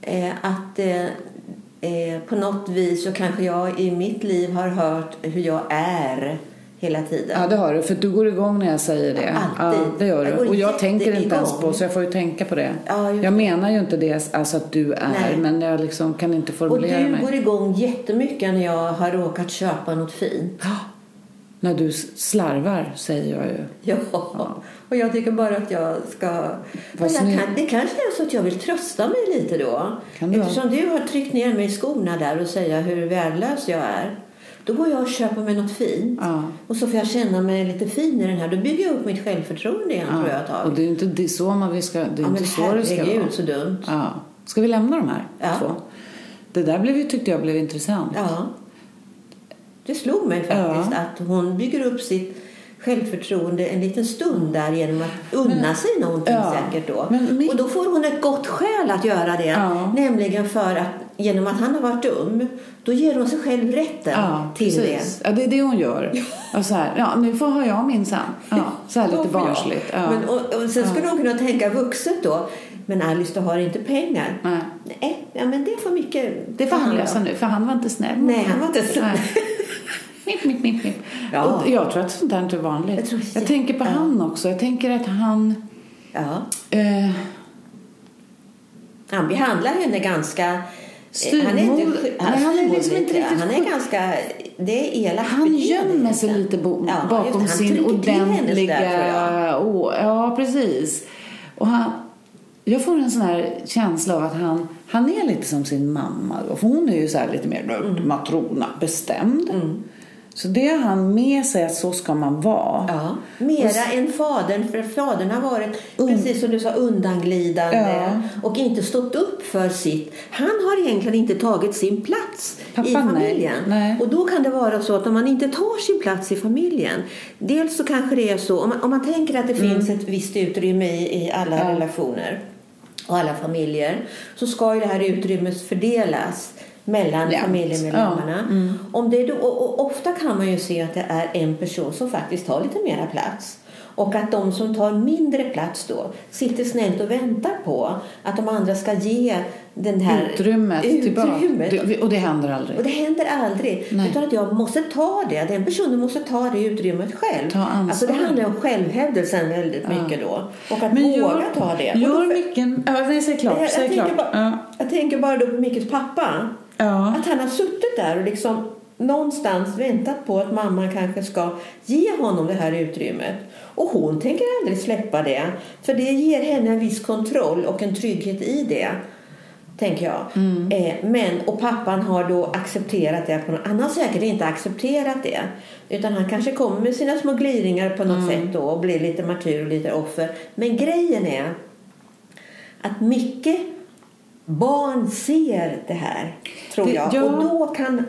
Eh, att eh, eh, på något vis så kanske jag i mitt liv har hört hur jag är hela tiden. Ja, det har du. För du går igång när jag säger det. Alltid. Ja, det gör Jag du. går Och jag tänker inte jätteigång. ens på så jag får ju tänka på det. Ja, just jag menar ju inte det alltså att du är, Nej. men jag liksom kan inte Och formulera du mig. går igång jättemycket när jag har råkat köpa något fint. Ja. När du s- slarvar, säger jag ju. Ja. och jag tycker bara att jag ska... Men snygg. jag kan, det kanske är så att jag vill trösta mig lite då. Kan du ha. Eftersom du har tryckt ner mig i skorna där och säger hur värdelös jag är. Då går jag och köper mig något fint. Ja. Och så får jag känna mig lite fin i den här. Då bygger jag upp mitt självförtroende igen tror jag ett Ja. tag. Och det är ju inte det är så man vi ska... Det är Ja, men inte så det ska vara. herregud så dumt. Ja. Ska vi lämna de här Ja. två? Det där blev ju, tyckte jag blev intressant. Ja. Det slog mig faktiskt att hon bygger upp sitt självförtroende en liten stund där genom att unna sig någonting Ja. säkert då. Men mitt- Och då får hon ett gott skäl att göra det. Ja. Nämligen för att genom att han har varit dum, då ger hon sig själv rätten till det. Ja, det är det hon gör. Och så här, ja, nu får har jag minsann. Ja, så här Då lite får jag. barnsligt. Ja. Men, och, och sen skulle hon kunna tänka vuxet då. Men Alice, du har inte pengar. Nej. Nej, ja, men det är för mycket. det får han förhandla. lösa nu, för han var inte snäll. mot Nej, han mig. var inte snäll. Nej. Mip, mip, mip, mip. Ja. Och jag tror att sånt där inte är vanligt. Jag tror- tänker på han också. Jag tänker att han... Ja. Eh, Han behandlar henne ganska... eh, Styrmod- Han är, inte, Nej, han, han är är liksom inte riktigt Han sjuk. är ganska... Det är elakt han beteende, gömmer sig egentligen. lite bo- Ja, just det. bakom Han sin trycker till henne ordentliga... sådär, tror jag. Åh, ja, precis. Och han, jag får en sån här känsla av att han, han är lite som sin mamma. då. För hon är ju så här lite mer Mm. matrona, bestämd. Så det har han med sig att så ska man vara. Ja. Mera än fadern, för fadern har varit, precis som du sa, undanglidande och inte stått upp för sitt. Han har egentligen inte tagit sin plats Pappa, i nej. familjen. Nej. Och då kan det vara så att om man inte tar sin plats i familjen, dels så kanske det är så, om man, om man tänker att det Mm. finns ett visst utrymme i, i alla relationer och alla familjer, så ska ju det här utrymmet fördelas mellan Jämt. Mm. familjemedlemmarna. Om det är då, och, och ofta kan man ju se att det är en person som faktiskt tar lite mera plats. Och att de som tar mindre plats då sitter snällt och väntar på att de andra ska ge den här Utrymmet, utrymmet. tillbaka. Det, och det händer aldrig. Och det händer aldrig. Nej. Utan att jag måste ta det. Den personen måste ta det utrymmet själv. Ta ansvar. alltså det handlar om självhävdelsen väldigt mycket då. Och att Men våga gör, ta det. Och då- Gör micken... Ja, nej, säg klart. jag, jag, säg klart. tänker bara, Ja. jag tänker bara då på Mickes pappa. Ja. Att han har suttit där och liksom någonstans väntat på att mamman kanske ska ge honom det här utrymmet. Och hon tänker aldrig släppa det. För det ger henne en viss kontroll och en trygghet i det. Tänker jag. Mm. Eh, men, och pappan har då accepterat det. På något, han har säkert inte accepterat det. Utan han kanske kommer med sina små gliringar på Mm. något sätt då och blir lite martyr och lite offer. Men grejen är att mycket barn ser det här, tror Det- jag. ja. Och då kan,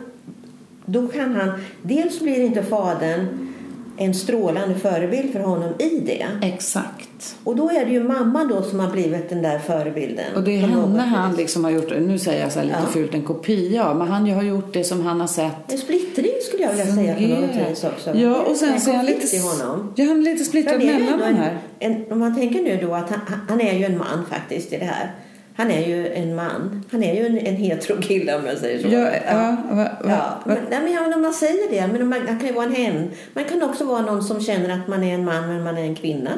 då kan han... Dels blir inte fadern en strålande förebild för honom i det. Exakt. Och då är det ju mamman då som har blivit den där förebilden. Och det är på något henne vis. han liksom har gjort, nu säger jag så här lite fult, en kopia av, men han har gjort det som han har sett En splittring skulle jag vilja säga på något vis också. Det Ja, är och sen en så är han konflikt lite, i honom. ja, han är lite För splittrad han är ju mellan ändå de här. En, en, om man tänker nu då att han, han är ju en man faktiskt i det här. Han är ju en man. Han är ju en, en hetero kille om jag säger så. Ja, ja, va, va, Ja, va, men, nej, men jag, man säger det, men man, man kan ju vara en hen. Man kan också vara någon som känner att man är en man men man är en kvinna.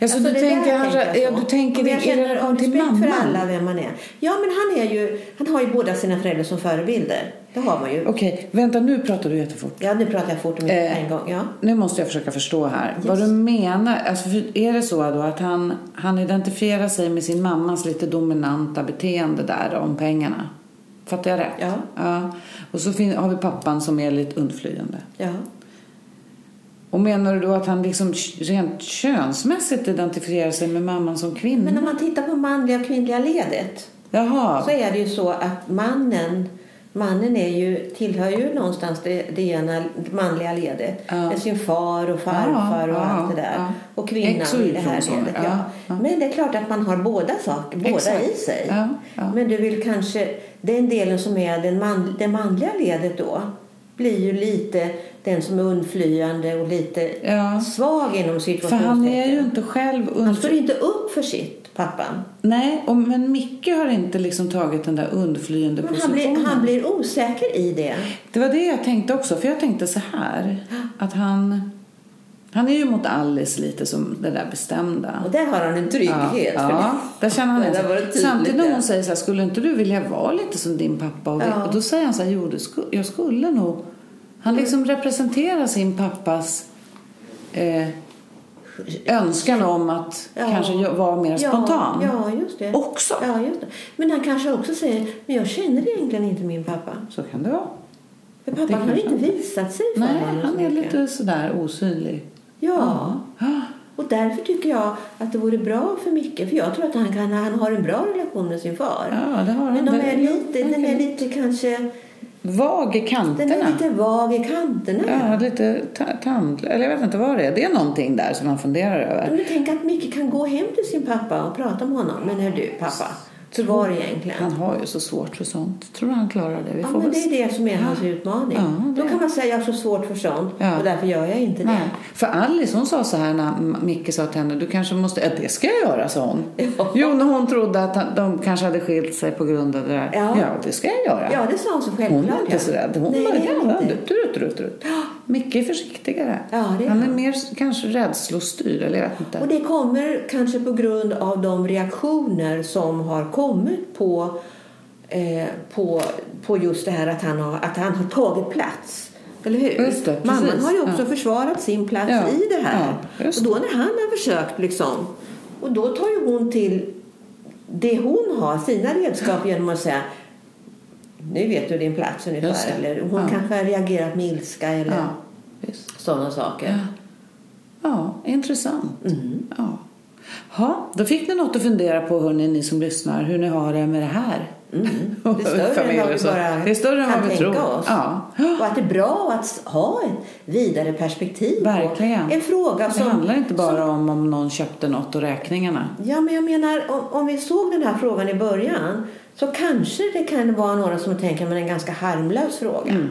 Alltså, Ja, så du det tänker där han- ja, så. du tänker Och jag det i känner relation av till respekt för mamman. alla vem man är. Ja, men han, är ju, han har ju båda sina föräldrar som förebilder. Det har man ju. Okej, vänta nu pratar du jättefort. Ja, nu pratar jag fort om det Eh, en gång. Ja. Nu måste jag försöka förstå här. Vad du menar, alltså, för är det så då att han, han identifierar sig med sin mammas lite dominanta beteende där om pengarna? Fattar jag rätt? Ja. Och så fin- har vi pappan som är lite undflyende. ja. Och menar du då att han liksom k- rent könsmässigt identifierar sig med mamman som kvinna? Men om man tittar på manliga och kvinnliga ledet Jaha. så är det ju så att mannen Mannen är ju, tillhör ju någonstans det, det ena manliga ledet. Ja. Med sin far och farfar Ja, och ja, allt det där. ja. Och kvinnan Ex- och i det här Y-kromosomer, ledet. ja, Ja. ja. Men det är klart att man har båda, saker, båda Exakt. i sig. Ja, ja. Men du vill kanske, den delen som är den man, det manliga ledet då blir ju lite den som är undflyende och lite Ja. svag inom För situationstecken. han är ju inte själv Han står undflyende. inte upp för sitt, pappan. Nej, och, men Micke har inte liksom tagit den där undflyende Men han, positionen. blir, han blir osäker i det. Det var det jag tänkte också, för jag tänkte så här att han han är ju mot Alice lite som det där bestämda. Och där har han en trygghet. Ja, för ja, det. där känner han det. en- där var det tydligt, Samtidigt när ja. hon säger så här, skulle inte du vilja vara lite som din pappa? Och, vi- Ja. och då säger han så här, jo det sku, jag skulle nog. Han liksom representerar sin pappas eh, önskan om att Ja. kanske jo- vara mer ja, spontan. Ja, just det. Också. Ja, just det. Men han kanske också säger, men jag känner egentligen inte min pappa. Så kan det vara. För Det pappan har kanske inte han- visat sig för Nej, honom så han är mycket. lite sådär osynlig. Ja. Och därför tycker jag att det vore bra för Micke. För jag tror att han, kan, han har en bra relation med sin far. Ja, det har han. men de Det- är lite, den är verkligen. lite kanske... Vag i Den kanterna. är lite vag i kanterna. Ja, lite ta- tand... Eller jag vet inte vad det är. Det är någonting där som man funderar över. Om du tänker att Micke kan gå hem till sin pappa och prata med honom. Men hör du pappa, så var det egentligen. Han har ju så svårt för sånt. Tror du han klarar det? Vi Ja, får väl men det se. är det som är hans utmaning. Ja, det Då är kan man säga jag har så svårt för sånt Ja. och därför gör jag inte Nej. det. För Alice hon sa så här när M- Micke sa till henne du kanske måste, ja det ska jag göra sa hon. Jo när hon trodde att han- de kanske hade skilt sig på grund av det där. Ja. det ska jag göra. Ja, det sa hon så självklart. Hon är inte ja. så rädd. Hon Nej, bara, det är hon ja, inte. du, du, du, du, du. Micke är försiktigare. Ja, det är han är han. mer s- kanske rädslostyrd eller jag vet inte. Och det kommer kanske på grund av de reaktioner som har kommit på, eh, på, på just det här att han har, att han har tagit plats. Eller hur? Just det, precis. Mamman har ju också Ja. försvarat sin plats Ja, i det här. ja, och just då när han har försökt liksom. Och då tar ju hon till det hon har, sina redskap genom att säga nu vet du din plats Just det. ungefär. Eller hon Ja. kanske har reagerat med ilska eller Ja, visst. sådana saker. Ja, intressant. Mm. Ja. Ha, då fick ni något att fundera på, hörni, ni som lyssnar, hur ni har det med det här. Mm. Det är större Familj än vad och vi så. bara det är större än kan vad vi tänka tror. oss. Ja. Och att det är bra att ha ett vidare perspektiv. på Verkligen. En fråga Det som... handlar inte bara som, om om någon köpte något och räkningarna. Ja, men jag menar, om, om vi såg den här frågan i början så kanske det kan vara några som tänker men en ganska harmlös fråga. Mm.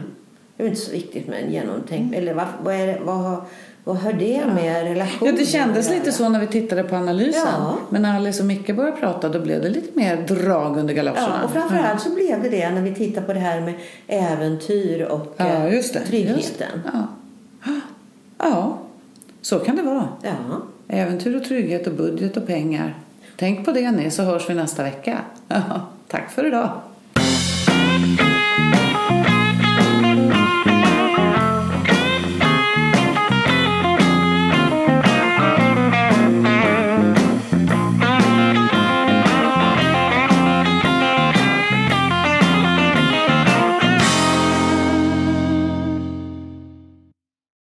Det är inte så viktigt med en genomtänkt... Eller vad, vad, är, det- vad, har- vad hör det med Ja, relationen det kändes att lite göra? så när vi tittade på analysen. Ja. Men när Alice och Micke började prata då blev det lite mer drag under galoscherna. Ja, och framförallt så blev det det när vi tittar på det här med äventyr och ja, eh, just det. tryggheten. Just det. Ja. ja, så kan det vara. Ja. Äventyr och trygghet och budget och pengar. Tänk på det ni så hörs vi nästa vecka. Tack för idag.